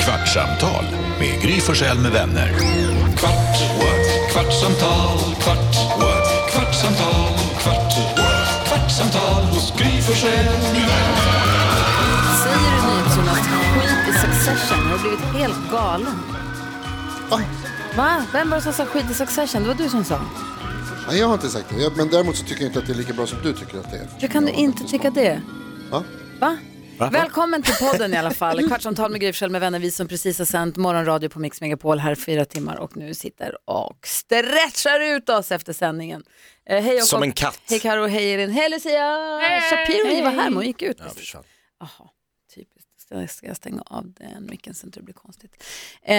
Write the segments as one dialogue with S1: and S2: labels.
S1: Kvartsamtal med Gry Forssell med vänner. Kvart, what? kvartsamtal, kvart, what? kvartsamtal, kvart, what? kvartsamtal hos Gry Forssell med vänner.
S2: Säger du NyhetsJonas skit i Succession? Jag har blivit helt galen. Va? Vem var det som sa skit i Succession? Det var du som sa.
S3: Nej, jag har inte sagt det. Jag, men däremot så tycker jag inte att det är lika bra som du tycker att det är.
S2: Hur kan du inte tycka det?
S3: Va?
S2: Va? Välkommen till podden i alla fall. Kvartsamtal med Gryfsjäll med vänner. Vi som precis har sänt morgonradio på Mix Megapol här fyra timmar och nu sitter och stretchar ut oss efter sändningen. Eh, hej och
S4: Som en katt.
S2: Hej Karo, hej Elin, hej Lucia. Shapiro var här men hon gick ut.
S4: Ja, försvann.
S2: Jaha, typiskt. Ska- Ska jag stänga av den micken så inte det blir konstigt. Eh,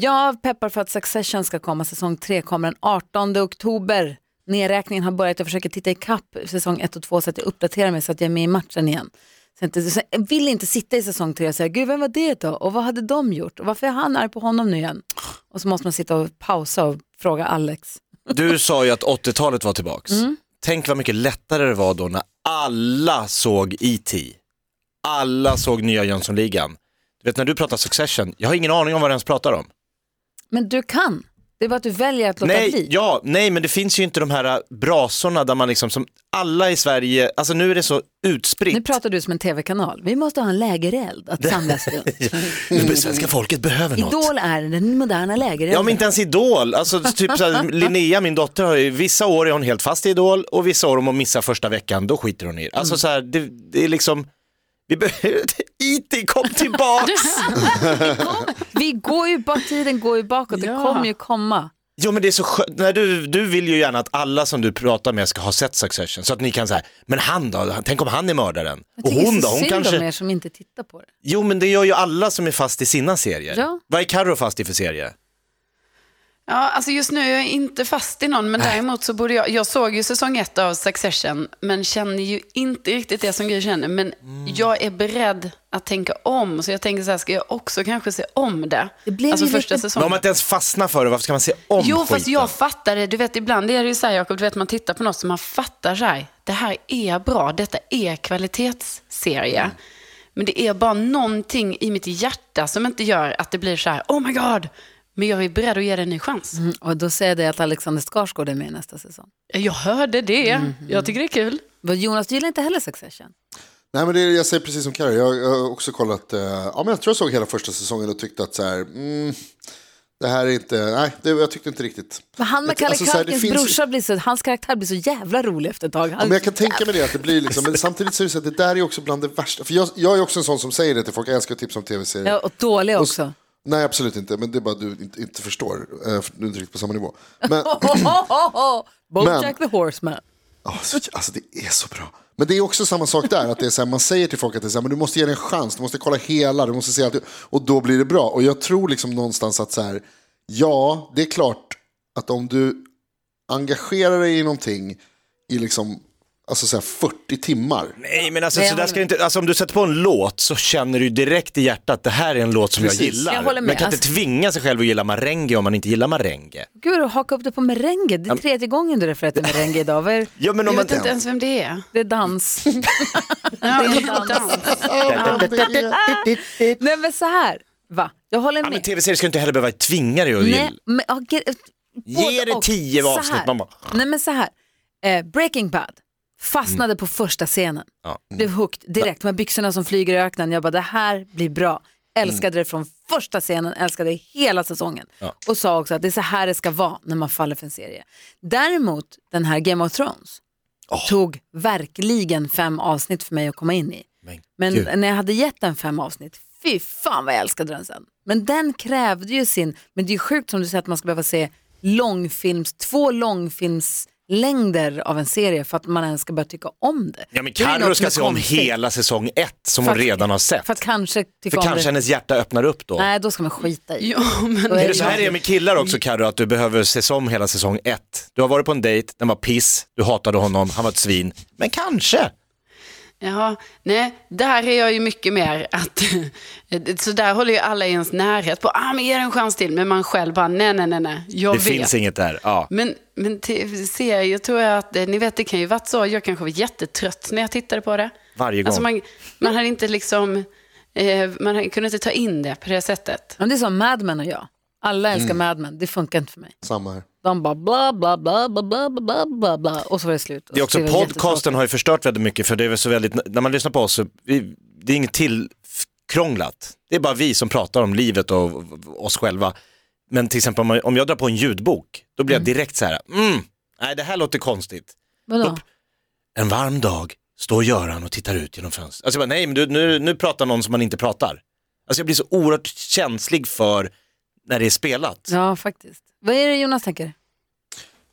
S2: jag peppar för att Succession ska komma. Säsong 3 kommer den 18 oktober. Nedräkningen har börjat. Jag försöker titta ikapp säsong 1 och 2 så att jag uppdaterar mig så att jag är med i matchen igen. Så jag, inte, så jag vill inte sitta i säsong 3 och säga, gud vem var det då? Och vad hade de gjort? Och varför är han arg på honom nu igen? Och så måste man sitta och pausa och fråga Alex.
S4: Du sa ju att 80-talet var tillbaks.
S2: Mm.
S4: Tänk vad mycket lättare det var då när alla såg E.T. Alla såg nya Jönssonligan. Du vet när du pratar Succession, jag har ingen aning om vad du ens pratar om.
S2: Men du kan. Det är bara att du väljer att låta
S4: Nej,
S2: bli.
S4: ja, nej, men det finns ju inte de här brasorna där man liksom, som alla i Sverige, alltså nu är det så
S2: Nu
S4: utspritt.
S2: pratar du som en tv-kanal. Vi måste ha en lägereld att samlas runt.
S4: Nu... Svenska folket behöver något.
S2: Idol är den moderna lägerelden.
S4: Ja men inte ens Idol, alltså typ så här, Linnea min dotter har ju, vissa år är hon helt fast i Idol och vissa år om hon missar första veckan då skiter hon i det. Alltså
S2: Mm.
S4: så här, det, det är liksom, vi behöver, IT kom tillbaks!
S2: Vi går ju bak, tiden går ju bakåt, det kommer ju komma.
S4: jo men det är så skönt, Nej, du, du vill ju gärna att alla som du pratar med ska ha sett Succession så att ni kan säga, men han då, tänk om han är mördaren?
S2: Jag
S4: Och
S2: tycker
S4: hon
S2: det
S4: då,
S2: är så
S4: hon
S2: synd om
S4: kanske,
S2: er som inte tittar på det.
S4: jo men det gör ju alla som är fast i sina serier.
S2: Ja.
S4: Vad är Carro fast i för serie?
S5: Ja, alltså just nu är jag inte fast i någon, men däremot så borde jag... Jag såg ju säsong ett av Succession, men känner ju inte riktigt det som Gry känner. Men
S4: Mm.
S5: jag är beredd att tänka om, så jag tänker så här, ska jag också kanske se om det?
S2: Det blev
S5: alltså
S2: ju
S5: första
S2: lite-
S4: Men om
S5: säsongen.
S4: man inte ens fastnar för det, varför ska man se om
S5: Jo, fast
S4: skiten?
S5: jag fattar det. Du vet, ibland är det ju så här, Jakob, du vet, man tittar på något som man fattar så här, det här är bra, detta är kvalitetsserie.
S4: Mm.
S5: Men det är bara någonting i mitt hjärta som inte gör att det blir så här, oh my god, men jag är beredd att ge det en ny chans.
S2: Mm, Och då säger jag det att Alexander Skarsgård är med nästa säsong.
S5: Jag hörde det.
S4: Mhm.
S5: Jag tycker det är kul.
S2: Vad, Jonas, du gillar inte heller Succession?
S3: Nej, men det, är- jag säger precis som Carro. Jag, jag har också kollat. eh, ja, men jag tror jag såg hela första säsongen och tyckte att så här, mm, det här är inte, nej, det, jag tyckte inte riktigt.
S2: Men han med
S3: Jag-
S2: Kalle
S3: alltså, så här, det
S2: Kalkins
S3: finns-
S2: brorsa, blir så, hans karaktär blir så jävla rolig efter ett tag.
S3: Ja,
S2: Han,
S3: men jag kan tänka mig det, att det blir liksom, men samtidigt så är det så att det där är också bland det värsta. För jag, jag är också en sån som säger det till folk, jag älskar tips om tv-serier.
S2: ja, och dålig också.
S3: Nej, absolut inte, men det är bara du inte, inte förstår, eh, för du är inte riktigt på samma nivå. Men,
S2: Ohohoho! Bojack the Horseman.
S3: Ja, så- Alltså det är så bra. Men det är också samma sak där, att det är så här, man säger till folk att det är så här, men du måste ge det en chans, du måste kolla hela, du måste se allt. Och då blir det bra. Och jag tror liksom någonstans att så här, ja, det är klart att om du engagerar dig i någonting i liksom, alltså så här 40 timmar.
S4: Nej men alltså,
S2: Nej,
S4: så
S2: jag
S4: där
S2: håller
S4: ska
S2: med.
S4: du inte, alltså om du sätter på en låt så känner du ju direkt i hjärtat att det här är en låt som jag
S3: Precis.
S4: gillar.
S2: Jag håller med.
S4: Man kan inte
S2: Alltså-
S4: tvinga sig själv att gilla Marenge om man inte gillar Marenge.
S2: Gud, och haka upp det på merengue. Det är tredje gången du refererar till merengue idag. Vad är-
S4: Ja men om
S5: Jag
S4: man...
S5: vet inte ens vem det är.
S2: Det är dans.
S5: Ja, det är en dans.
S3: Ja, men det är-
S2: Nej men så här, va? Jag håller
S4: Ja,
S2: med.
S4: men tv-serier ska inte heller behöva tvinga dig att gilla.
S2: Nej, men, ja, ge, eh, både
S4: det
S2: och.
S4: tio
S2: Så
S4: avsnitt,
S2: här.
S4: man bara-
S2: Nej men så här, eh, Breaking Bad fastnade
S4: Mm.
S2: på första scenen.
S4: Ja.
S2: Blev hooked direkt, de här byxorna som flyger i öknen. Jag bara, det här blir bra. Älskade
S4: Mm.
S2: det från första scenen, älskade det hela säsongen. Och sa också att det är så här det ska vara när man faller för en serie. Däremot den här Game of Thrones tog verkligen fem avsnitt för mig att komma in i.
S4: Men
S2: Men
S4: gud.
S2: när jag hade gett den fem avsnitt, fy fan vad jag älskade den sen. Men den krävde ju sin, men det är ju sjukt som du säger att man ska behöva se långfilms, två långfilmslängder av en serie för att man ens ska börja tycka om det.
S4: Ja men
S2: Det är ju något
S4: Carro
S2: som
S4: ska
S2: är
S4: se om
S2: konstigt.
S4: hela säsong ett som
S2: För
S4: hon
S2: att-
S4: redan har sett.
S2: För att kanske tycka
S4: För
S2: om
S4: kanske
S2: det.
S4: hennes hjärta öppnar upp då.
S2: Nej, då ska man skita i.
S5: Jo, men
S2: Då
S4: Är
S2: det
S4: det så här det är med killar också Carro, att du behöver se om hela säsong ett. Du har varit på en dejt, den var piss, du hatade honom, han var ett svin. Men kanske.
S5: Jaha, nej, där är jag ju mycket mer att... Så där håller ju alla i ens närhet på. Ah, men ge det en chans till. Men man själv bara, nej, nej, nej, nej. Jag
S4: Det
S5: vet.
S4: finns inget där. Ja.
S5: Men, men tv-serier tror jag att, eh, ni vet det kan ju varit så, jag kanske var jättetrött när jag tittade på det.
S4: Varje gång.
S5: Alltså man, man hade inte liksom eh, man kunde inte ta in det på det sättet.
S2: Men det är som Mad Men och jag. Alla älskar
S4: Mm.
S2: Mad Men, det funkar inte för mig.
S3: Samma här.
S2: De bara bla bla bla bla bla bla bla bla och så var det slut.
S4: Det är
S2: Och
S4: också,
S2: så var
S4: podcasten
S2: jättetråkigt.
S4: har ju förstört väldigt mycket för det är väl så väldigt, när man lyssnar på oss så, vi, det är inget tillkrånglat. Det är bara vi som pratar om livet och oss själva. Men till exempel om jag- om jag drar på en ljudbok, då blir jag direkt så här, mm, nej det här låter konstigt.
S2: Vadå?
S4: En varm dag står Göran och tittar ut genom fönstret. Alltså jag bara, nej men du, nu, nu pratar någon som man inte pratar. Alltså jag blir så oerhört känslig för när det är spelat.
S2: Ja, faktiskt. Vad är det Jonas tänker?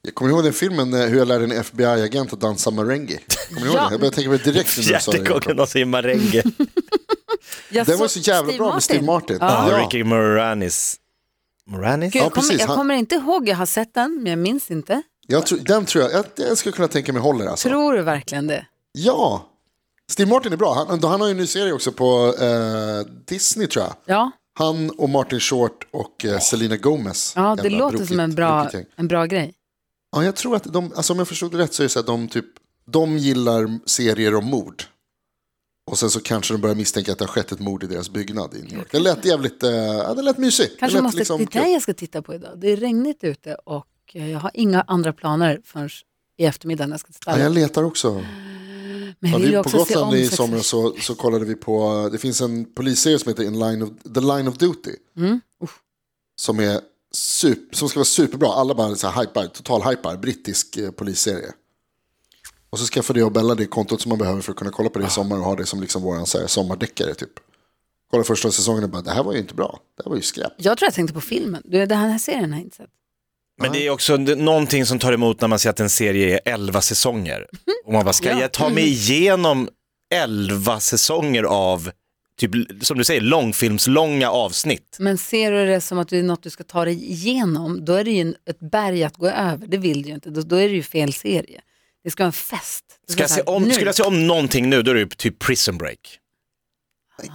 S3: Jag kommer ihåg den filmen eh, hur jag lärde en FBI-agent att dansa merengue. Kommer ni ihåg
S2: Ja.
S3: den? Jag började tänka på det direkt när du sa
S4: Fjärde gången
S3: det.
S4: de säger Marenge.
S2: Jag
S3: Den var
S2: såg
S3: så jävla
S2: Steve
S3: bra med Steve Martin.
S4: Ja,
S3: Ja.
S4: Ricky Moranis. Moranis?
S2: Gud,
S3: Ja,
S2: jag, kommer,
S3: precis.
S2: jag
S3: Han-
S2: kommer inte ihåg, jag har sett den, men jag minns inte.
S3: Jag tror, den tror jag, jag, jag skulle kunna tänka mig håller alltså.
S2: Tror du verkligen det?
S3: Ja, Steve Martin är bra. Han, han har ju en ny serie också på eh, Disney tror jag.
S2: Ja,
S3: Han och Martin Short och eh, Selena Gomez.
S2: ja det
S3: Jävla
S2: låter
S3: brokigt-
S2: som en bra,
S3: brokigt gäng.
S2: en bra grej.
S3: Ja, jag tror att de, alltså om jag förstod det rätt så är det så att de typ, de gillar serier om mord. Och sen så kanske de börjar misstänka att det har skett ett mord i deras byggnad i New York. Det lät jävligt, eh, ja, det lät mysigt.
S2: Kanske
S3: det lät liksom
S2: måste, det är det
S3: kul.
S2: jag ska titta på idag. Det är regnigt ute och eh, jag har inga andra planer förrän i eftermiddag när jag ska
S3: ja,
S2: ställa.
S3: jag letar också.
S2: Men jag
S3: Ja,
S2: vill ju
S3: vi, på
S2: också se om
S3: Gotland i
S2: Sex-
S3: somras så, så kollade vi på, det finns en polisserie som heter In Line of, The Line of Duty.
S2: Mm.
S3: Som, är super, som ska vara superbra, alla bara så här hypar, total hypar, brittisk eh, polisserie. Och så skaffade jag och Bella det kontot som man behöver för att kunna kolla på
S2: Ah.
S3: det i sommar och ha det som liksom våran så här sommardäckare typ. Kolla första säsongen och bara, det här var ju inte bra, det här var ju skräp.
S2: Jag tror jag tänkte på filmen. Du, den här serien har jag inte sett.
S4: Men det är också n- någonting som tar emot när man ser att en serie är 11 säsonger. Och man bara, ska jag ta mig igenom 11 säsonger av, typ, som du säger, långfilmslånga avsnitt?
S2: Men ser du det som att det är något du ska ta dig igenom, då är det ju en- ett berg att gå över. Det vill du ju inte. Då, då är det ju fel serie. Det ska vara en fest. Det
S4: Ska jag
S2: vara
S4: se
S2: så här,
S4: om,
S2: nu.
S4: skulle jag se om någonting nu, då är det ju typ Prison Break.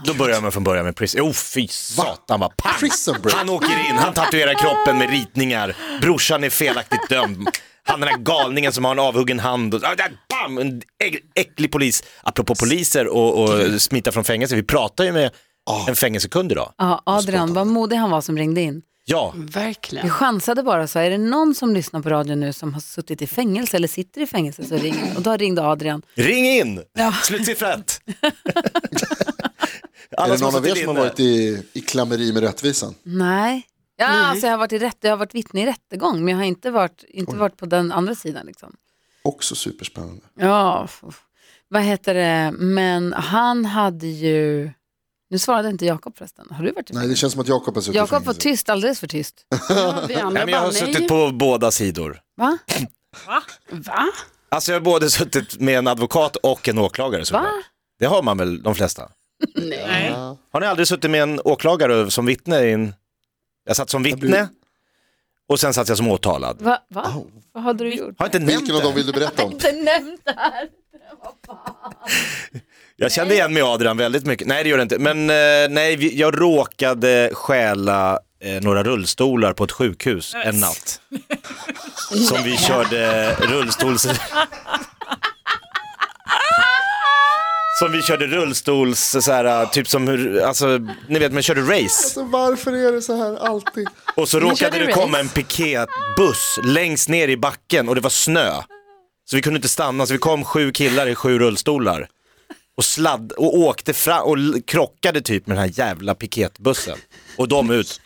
S4: Då börjar man från början med Prison, oh fy satan vad pang!
S3: Prison Break.
S4: Han åker in, han tatuerar kroppen med ritningar, brorsan är felaktigt dömd. Han den här galningen som har en avhuggen hand och ah, där, bam, en äck- äcklig polis. Apropå poliser och, och smita från fängelse, vi pratar ju med
S3: Ah.
S4: en fängelsekund idag.
S2: Ja, Adrian, vad modig han var som ringde in.
S4: Ja,
S2: Vi
S5: Verkligen.
S2: chansade bara så, är det någon som lyssnar på radio nu som har suttit i fängelse eller sitter i fängelse så ring. Och då ringde Adrian.
S4: ring in! Slutsiffra ett.
S3: är
S4: Alla
S3: det någon av er
S4: suttit
S3: som har
S4: inne.
S3: varit i, i klammeri med rättvisan?
S2: Nej. Ja, alltså jag har varit i rätt, jag har varit vittne i rättegång men jag har inte varit, inte varit på den andra sidan liksom.
S3: Också superspännande.
S2: Ja, f- f- vad heter det, men han hade ju, nu svarade inte Jakob förresten, har du varit i
S3: Nej, det känns som att Jakob har suttit i
S2: Jakob var
S3: fängelse.
S2: tyst, alldeles för tyst.
S5: Ja, vi
S4: Nej,
S5: andra
S4: men jag
S5: bara,
S4: har
S5: nej.
S4: suttit på båda sidor.
S2: Va?
S5: Va?
S4: Alltså jag har både suttit med en advokat och en åklagare såklart. Det har man väl de flesta?
S5: Nej.
S4: Har ni aldrig suttit med en åklagare som vittne? I en... Jag satt som vittne och sen satt jag som åtalad.
S2: Va? Va? Vad hade du gjort?
S4: Har inte nämnt
S3: Vilken av dem
S4: det?
S3: vill du berätta om?
S2: Inte nämnt det här.
S4: Jag kände igen mig i Adrian väldigt mycket. Nej det gör det inte. Men eh, nej, vi- jag råkade stjäla eh, några rullstolar på ett sjukhus en natt. Som vi körde rullstols... Som vi körde rullstols, så här, typ som hur, alltså ni vet man körde race.
S3: Alltså, varför är det så här alltid?
S4: Och så
S2: körde
S4: råkade det
S2: race.
S4: komma en piketbuss längst ner i backen och det var snö. Så vi kunde inte stanna, så vi kom sju killar i sju rullstolar. Och, sladd, och åkte fram och l- krockade typ med den här jävla piketbussen. Och de ut.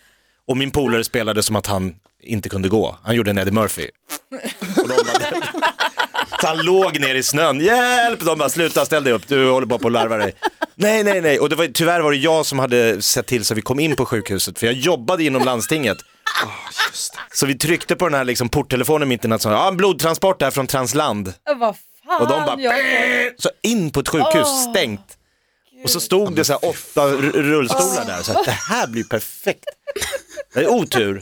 S4: Och min polare spelade som att han inte kunde gå. Han gjorde en Eddie Murphy. Och de bara, så han låg ner i snön. Hjälp! De bara, sluta ställ dig upp, du håller bara på att larva dig. Nej, nej, nej. Och det var, tyvärr var det jag som hade sett till så vi kom in på sjukhuset, för jag jobbade inom landstinget. Så vi tryckte på den här liksom, porttelefonen mitt i natten, och sa, ja, en blodtransport här från Transland.
S2: Vad fan
S4: Och de bara, "Bäh!" så in på ett sjukhus, stängt. Och så stod det så här åtta r- rullstolar där, så att det här blir perfekt. Det är otur.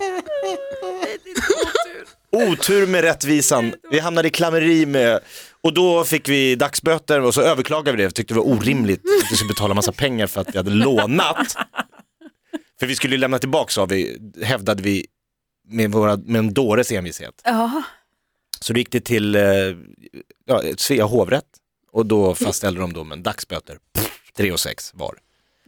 S4: Otur med rättvisan. Vi hamnade i klammeri med, och då fick vi dagsböter och så överklagade vi det, tyckte det var orimligt att vi skulle betala massa pengar för att vi hade lånat. För vi skulle ju lämna tillbaka, sa vi, hävdade vi med, våra, med en dåres envishet.
S2: Ja,
S4: Så det gick det till eh, Mm. ja, Svea hovrätt och då fastställde de domen, dagsböter, pff, 3 och 6 var.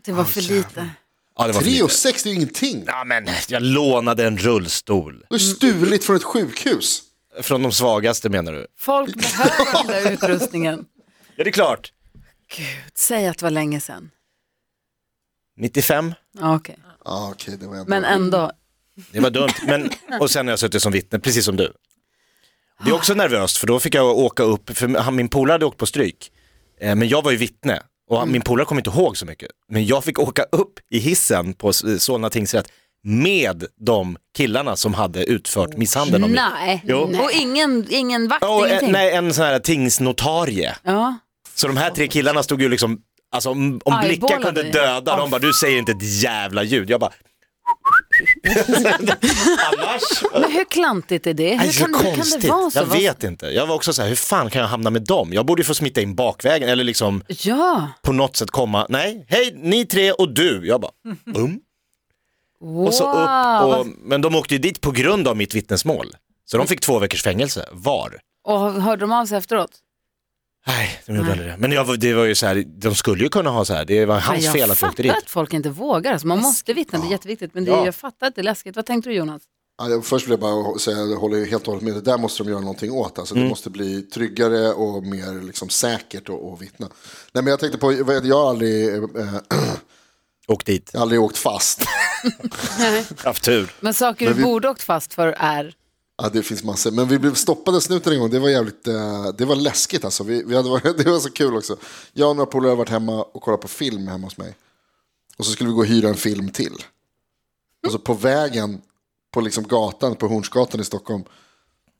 S2: Det var för lite.
S4: Ja, det var för
S3: Tre
S4: lite.
S3: och sex, det är ju ingenting.
S4: Ja, men jag lånade en rullstol.
S3: Du har stulit från ett sjukhus.
S4: Från de svagaste menar du?
S2: Folk behöver den där utrustningen.
S4: Ja, det är klart.
S2: Gud, säg att det var länge sedan.
S4: 95?
S2: Ja, okej.
S3: Ja, okej, det var ändå...
S2: Men ändå,
S4: Det var dumt. Men, och sen har jag suttit som vittne, precis som du. Det är också nervöst, för då fick jag åka upp, för han, min polare hade åkt på stryk. Eh, Men jag var ju vittne och han, min polare kom inte ihåg så mycket. Men jag fick åka upp i hissen på S- Solna tingsrätt med de killarna som hade utfört misshandeln. av mig.
S2: nej.
S4: Jo.
S2: Och ingen, ingen vakt,
S4: Och, eh,
S2: ingenting.
S4: nej, en sån här tingsnotarie.
S2: Ja.
S4: Så de här tre killarna stod ju liksom, alltså om, om blickar
S2: Eyeballade
S4: kunde
S2: dig.
S4: döda, de bara du säger inte ett jävla ljud. Jag bara, annars?
S2: Men hur klantigt är det?
S4: Nej,
S2: Hur
S4: så
S2: kan, hur kan det vara så?
S4: Jag
S2: Vad-
S4: vet inte. Jag var också så här, hur fan kan jag hamna med dem? Jag borde ju få smita in bakvägen eller liksom
S2: Ja,
S4: på något sätt komma, nej, hej ni tre och du. Jag bara, um.
S2: wow.
S4: Och så upp och, men de åkte ju dit på grund av mitt vittnesmål. Så de fick två veckors fängelse var.
S2: och hörde de av sig efteråt?
S4: Nej, de gjorde aldrig det. Men jag, var- det var ju så här, de skulle ju kunna ha så här, det var
S2: Men
S4: hans
S2: jag
S4: fel att vi åkte
S2: fattar
S4: dit.
S2: att folk inte vågar. Alltså, man måste vittna, det är jätteviktigt. Men det,
S4: Ja.
S2: jag fattar att det är läskigt. Vad tänkte du Jonas?
S3: Ja, jag- först vill jag bara säga, jag håller helt och hållet med, det där måste de göra någonting åt. Alltså, Det måste bli tryggare och mer liksom, säkert att- att vittna. Nej, men jag tänkte på, jag vet, jag har aldrig, eh,
S4: Åk dit,
S3: jag har aldrig åkt fast.
S4: haft tur.
S2: Men saker du
S3: vi-
S2: borde åkt fast för är...
S3: Ja, det finns massor. Men vi blev stoppade av snuten en gång. Det var jävligt eh, det var läskigt. Alltså. Vi, vi hade varit, det var så kul också. Jag och några polare hade varit hemma och kollat på film hemma hos mig. Och så skulle vi gå och hyra en film till. Och så på vägen på liksom gatan, på Hornsgatan i Stockholm.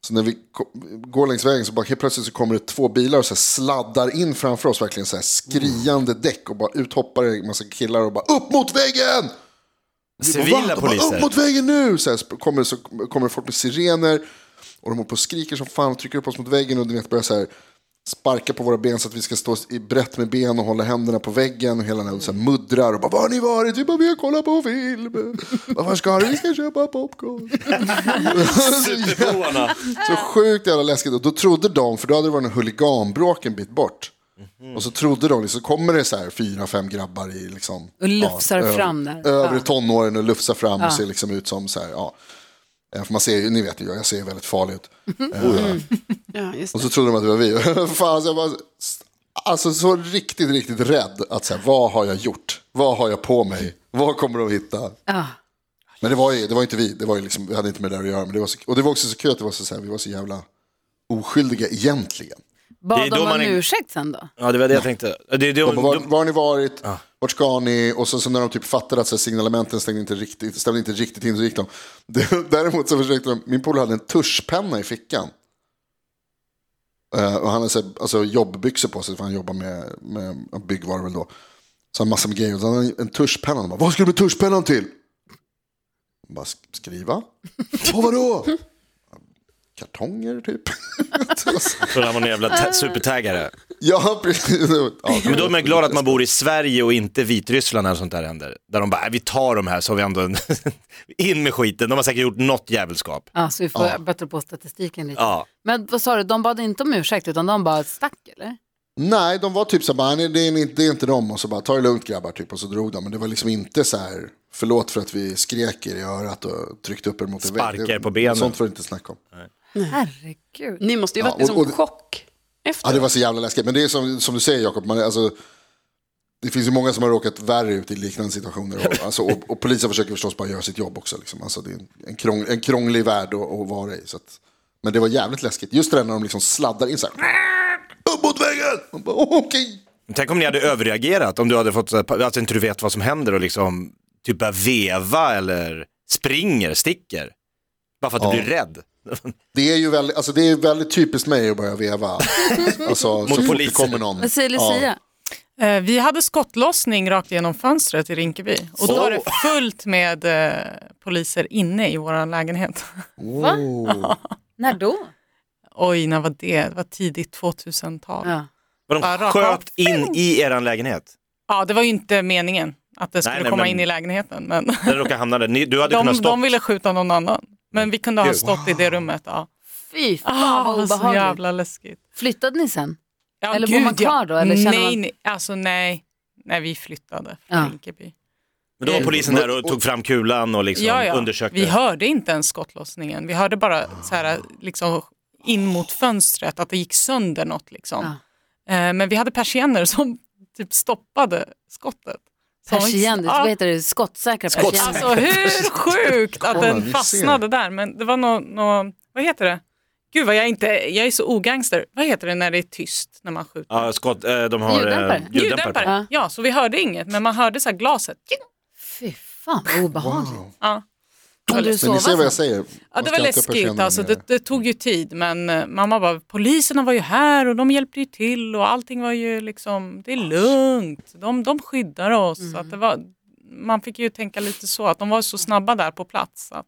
S3: Så när vi ko- går längs vägen så bara helt plötsligt så kommer det två bilar och så här sladdar in framför oss. Verkligen så här skriande däck och bara ut hoppar en massa killar och bara upp mot väggen! Vi bara, "Va?"
S4: Civila
S3: De bara, Upp
S4: poliser.
S3: mot väggen nu! Så här, sp- kommer, så kommer folk med sirener och de håller på och skriker som fan och trycker upp oss mot väggen och du vet, börjar så här, sparka på våra ben så att vi ska stå i brett med ben och hålla händerna på väggen och hela den här, så här, muddrar och bara var har ni varit? Vi bara vi har kollat på film. Varför ska du? Vi ska köpa popcorn.
S4: Superboarna.
S3: Så sjukt jävla läskigt. Och då trodde de, för då hade det varit en huliganbråk en bit bort. Och så trodde de, så kommer det så här fyra, fem grabbar i liksom...
S2: Och lufsar
S3: ö-
S2: fram där.
S3: Övre
S2: Ja.
S3: tonåren och lufsar fram och ser liksom ut som så här, ja. Eh, För man ser ju, ni vet ju, jag ser ju väldigt farlig ut. Eh,
S5: Ja, just
S3: och
S5: det.
S3: så trodde de att det var vi. Fan, så jag bara, alltså så riktigt, riktigt rädd. Att så här, vad har jag gjort? Vad har jag på mig? Vad kommer de hitta?
S2: Ja.
S3: Men det var ju, det var ju inte vi, det var ju liksom, vi hade inte med det där att göra. Men det var så, och det var också så kul att det var så, så här, vi var så jävla oskyldiga egentligen.
S4: Det är
S2: Bad
S4: då
S2: de om
S4: man är-
S2: ursäkt sen då?
S4: Ja, det var det jag tänkte. Det, det,
S3: De bara, var,
S4: de,
S3: var har ni varit? Vart ska ni? Och så, så när de typ fattade att så här, signalementen stämde inte riktigt, stämde inte riktigt in så gick de. Däremot så försökte de, min polare hade en tuschpenna i fickan. Eh, och han hade så här, alltså, jobbbyxor på sig, för han jobbar med, med byggvaror väl då. Så han hade massa med grejer. Och så hade han en tuschpenna. Han Bara, Vad ska du med tuschpennan till? Han Bara "Sk- skriva. Och vadå? Kartonger typ.
S4: trodde han var en jävla ta- supertaggare.
S3: ja, precis. Ja,
S4: Men då är man glad att man bor i Sverige och inte Vitryssland när sånt där händer. Där de bara, "Äh, vi tar de här så har vi ändå en... in med skiten. De har säkert gjort något jävelskap.
S2: Ja, så vi får bättra på statistiken lite.
S4: Ja.
S2: Men vad sa du, de bad inte om ursäkt utan de bara stack eller?
S3: Nej, de var typ så här, bara, nej, det, är inte, det är inte de. Och så bara, ta det lugnt grabbar, typ. Och så drog de. Men det var liksom inte så här, förlåt för att vi skrek er i örat och tryckte upp er mot en
S4: Sparkar
S3: Det-
S4: på benen.
S3: Sånt var det inte snack om.
S2: Herregud.
S5: Ni måste ju
S3: Ja,
S5: varit i
S3: och- och
S5: sån
S3: det-
S5: chock efter.
S3: Ja, det var så jävla läskigt. Men det är som, som du säger Jakob, man, är- alltså, det finns ju många som har råkat värre ut i liknande situationer. Och, alltså, och, och polisen försöker förstås bara göra sitt jobb också. Liksom. Alltså, det är en, en, krång, en krånglig värld att, att vara i. Så att, men det var jävligt läskigt. Just det där när de liksom sladdar in så här, upp mot väggen! Man bara, Okej!
S4: Men Tänk om ni hade överreagerat, om du hade fått, så här, att inte du vet vad som händer och liksom typ börjar veva eller springer, sticker. Bara för att du
S3: Ja.
S4: blir rädd.
S3: Det är ju väldigt, alltså det är väldigt typiskt mig att börja veva. Alltså, så fort det
S4: poliser.
S3: kommer någon.
S2: Vad säger Lucia?
S6: Eh, Vi hade skottlossning rakt genom fönstret i Rinkeby och då var det fullt med eh, poliser inne i vår lägenhet.
S2: Va?
S4: Oh.
S2: När då?
S6: Oj, när var det? Det var tidigt 2000-tal. Ja.
S2: Ja.
S4: Vad
S6: Bara
S4: de
S6: rakt av.
S4: sköt in i eran lägenhet.
S6: det var ju inte meningen att det skulle
S4: nej,
S6: komma
S4: men-
S6: in i lägenheten, men
S4: Där råkade hamna där. Ni, du hade
S6: de,
S4: kunnat stå.
S6: de ville skjuta någon annan. Men vi kunde ha
S4: Gud.
S6: stått i det rummet. Ja.
S2: Fy fan vad
S6: Ah, så
S2: obehagligt.
S6: jävla läskigt.
S2: Flyttade ni sen?
S6: Ja,
S2: Eller bor man
S6: ja.
S2: kvar då, eller känner
S6: nej,
S2: man-
S6: nej, alltså nej. när vi flyttade från
S2: Ja.
S6: Rinkeby.
S4: Men då var polisen där och tog fram kulan och liksom
S6: Ja, ja.
S4: undersökte.
S6: Vi hörde inte ens skottlossningen. Vi hörde bara så här, liksom, in mot fönstret att det gick sönder något. Liksom. Eh, Men vi hade persienner som typ stoppade skottet. Som-
S2: Persienner,
S6: Ja,
S2: vad heter det, skottsäkra persienner.
S6: Alltså hur sjukt att
S3: Kolla, ni
S6: den
S3: ser.
S6: fastnade där. Men det var någon, nå, vad heter det? Gud vad jag inte, jag är så ogangster. Vad heter det när det är tyst när man skjuter?
S4: Ja, skott, eh, de har eh,
S2: Ljuddämpare.
S4: ljuddämpare.
S2: Ja.
S6: Ja. så vi hörde inget men man hörde så här glaset.
S2: Fy fan vad obehagligt.
S6: Ja.
S2: Kunde du
S3: Mm. Men
S2: sova
S3: ni ser vad
S2: sen?
S3: jag säger.
S6: Ja,
S3: Man
S6: det
S3: ska
S6: var
S3: alltid ha
S6: läskigt
S3: persienner
S6: alltså.
S3: nere.
S6: Det, det tog ju tid men eh, mamma bara, poliserna var ju här och de hjälpte ju till och allting var ju liksom, det är lugnt. De, de skyddar oss. Så att det var, man fick ju tänka lite så att de var så snabba där på plats. Så att,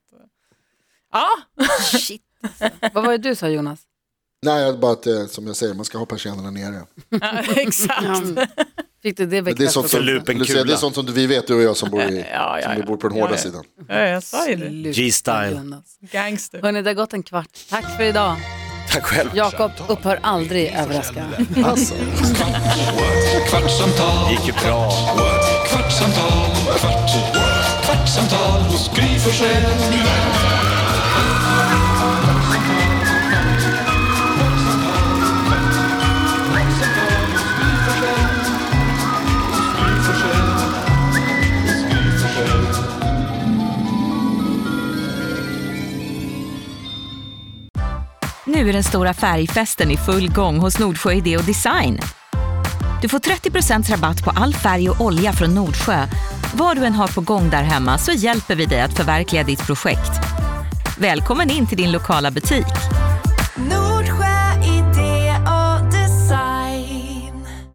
S6: ja,
S2: Shit. alltså. Vad var det du sa Jonas?
S3: Nej, jag- bara att eh, som jag säger, man ska ha persiennerna nere.
S6: ja, exakt.
S2: Fick du det
S3: Men det, är
S2: bekräftat?
S3: sånt som,
S4: Lupen kula.
S3: Lucia, det är sånt som vi vet, du och jag som bor, i,
S6: Ja, ja,
S3: som vi
S6: ja.
S3: bor på den hårda
S6: Ja, ja.
S3: sidan.
S6: Ja, jag sa ju det.
S4: G-style.
S2: Jonas.
S6: Gangster.
S2: Hörni, det har gått en kvart. Tack för idag.
S4: Tack själv.
S2: Jakob upphör aldrig överraska.
S3: Alltså.
S1: Kvart, kvartsamtal,
S4: gick ju bra.
S1: kvartsamtal, kvart, kvartsamtal hos Gry Forssell med vänner.
S7: Nu är den stora färgfesten i full gång hos Nordsjö Idé och Design. Du får 30 rabatt på all färg och olja från Nordsjö. Vad du än har på gång där hemma så hjälper vi dig att förverkliga ditt projekt. Välkommen in till din lokala butik.
S8: No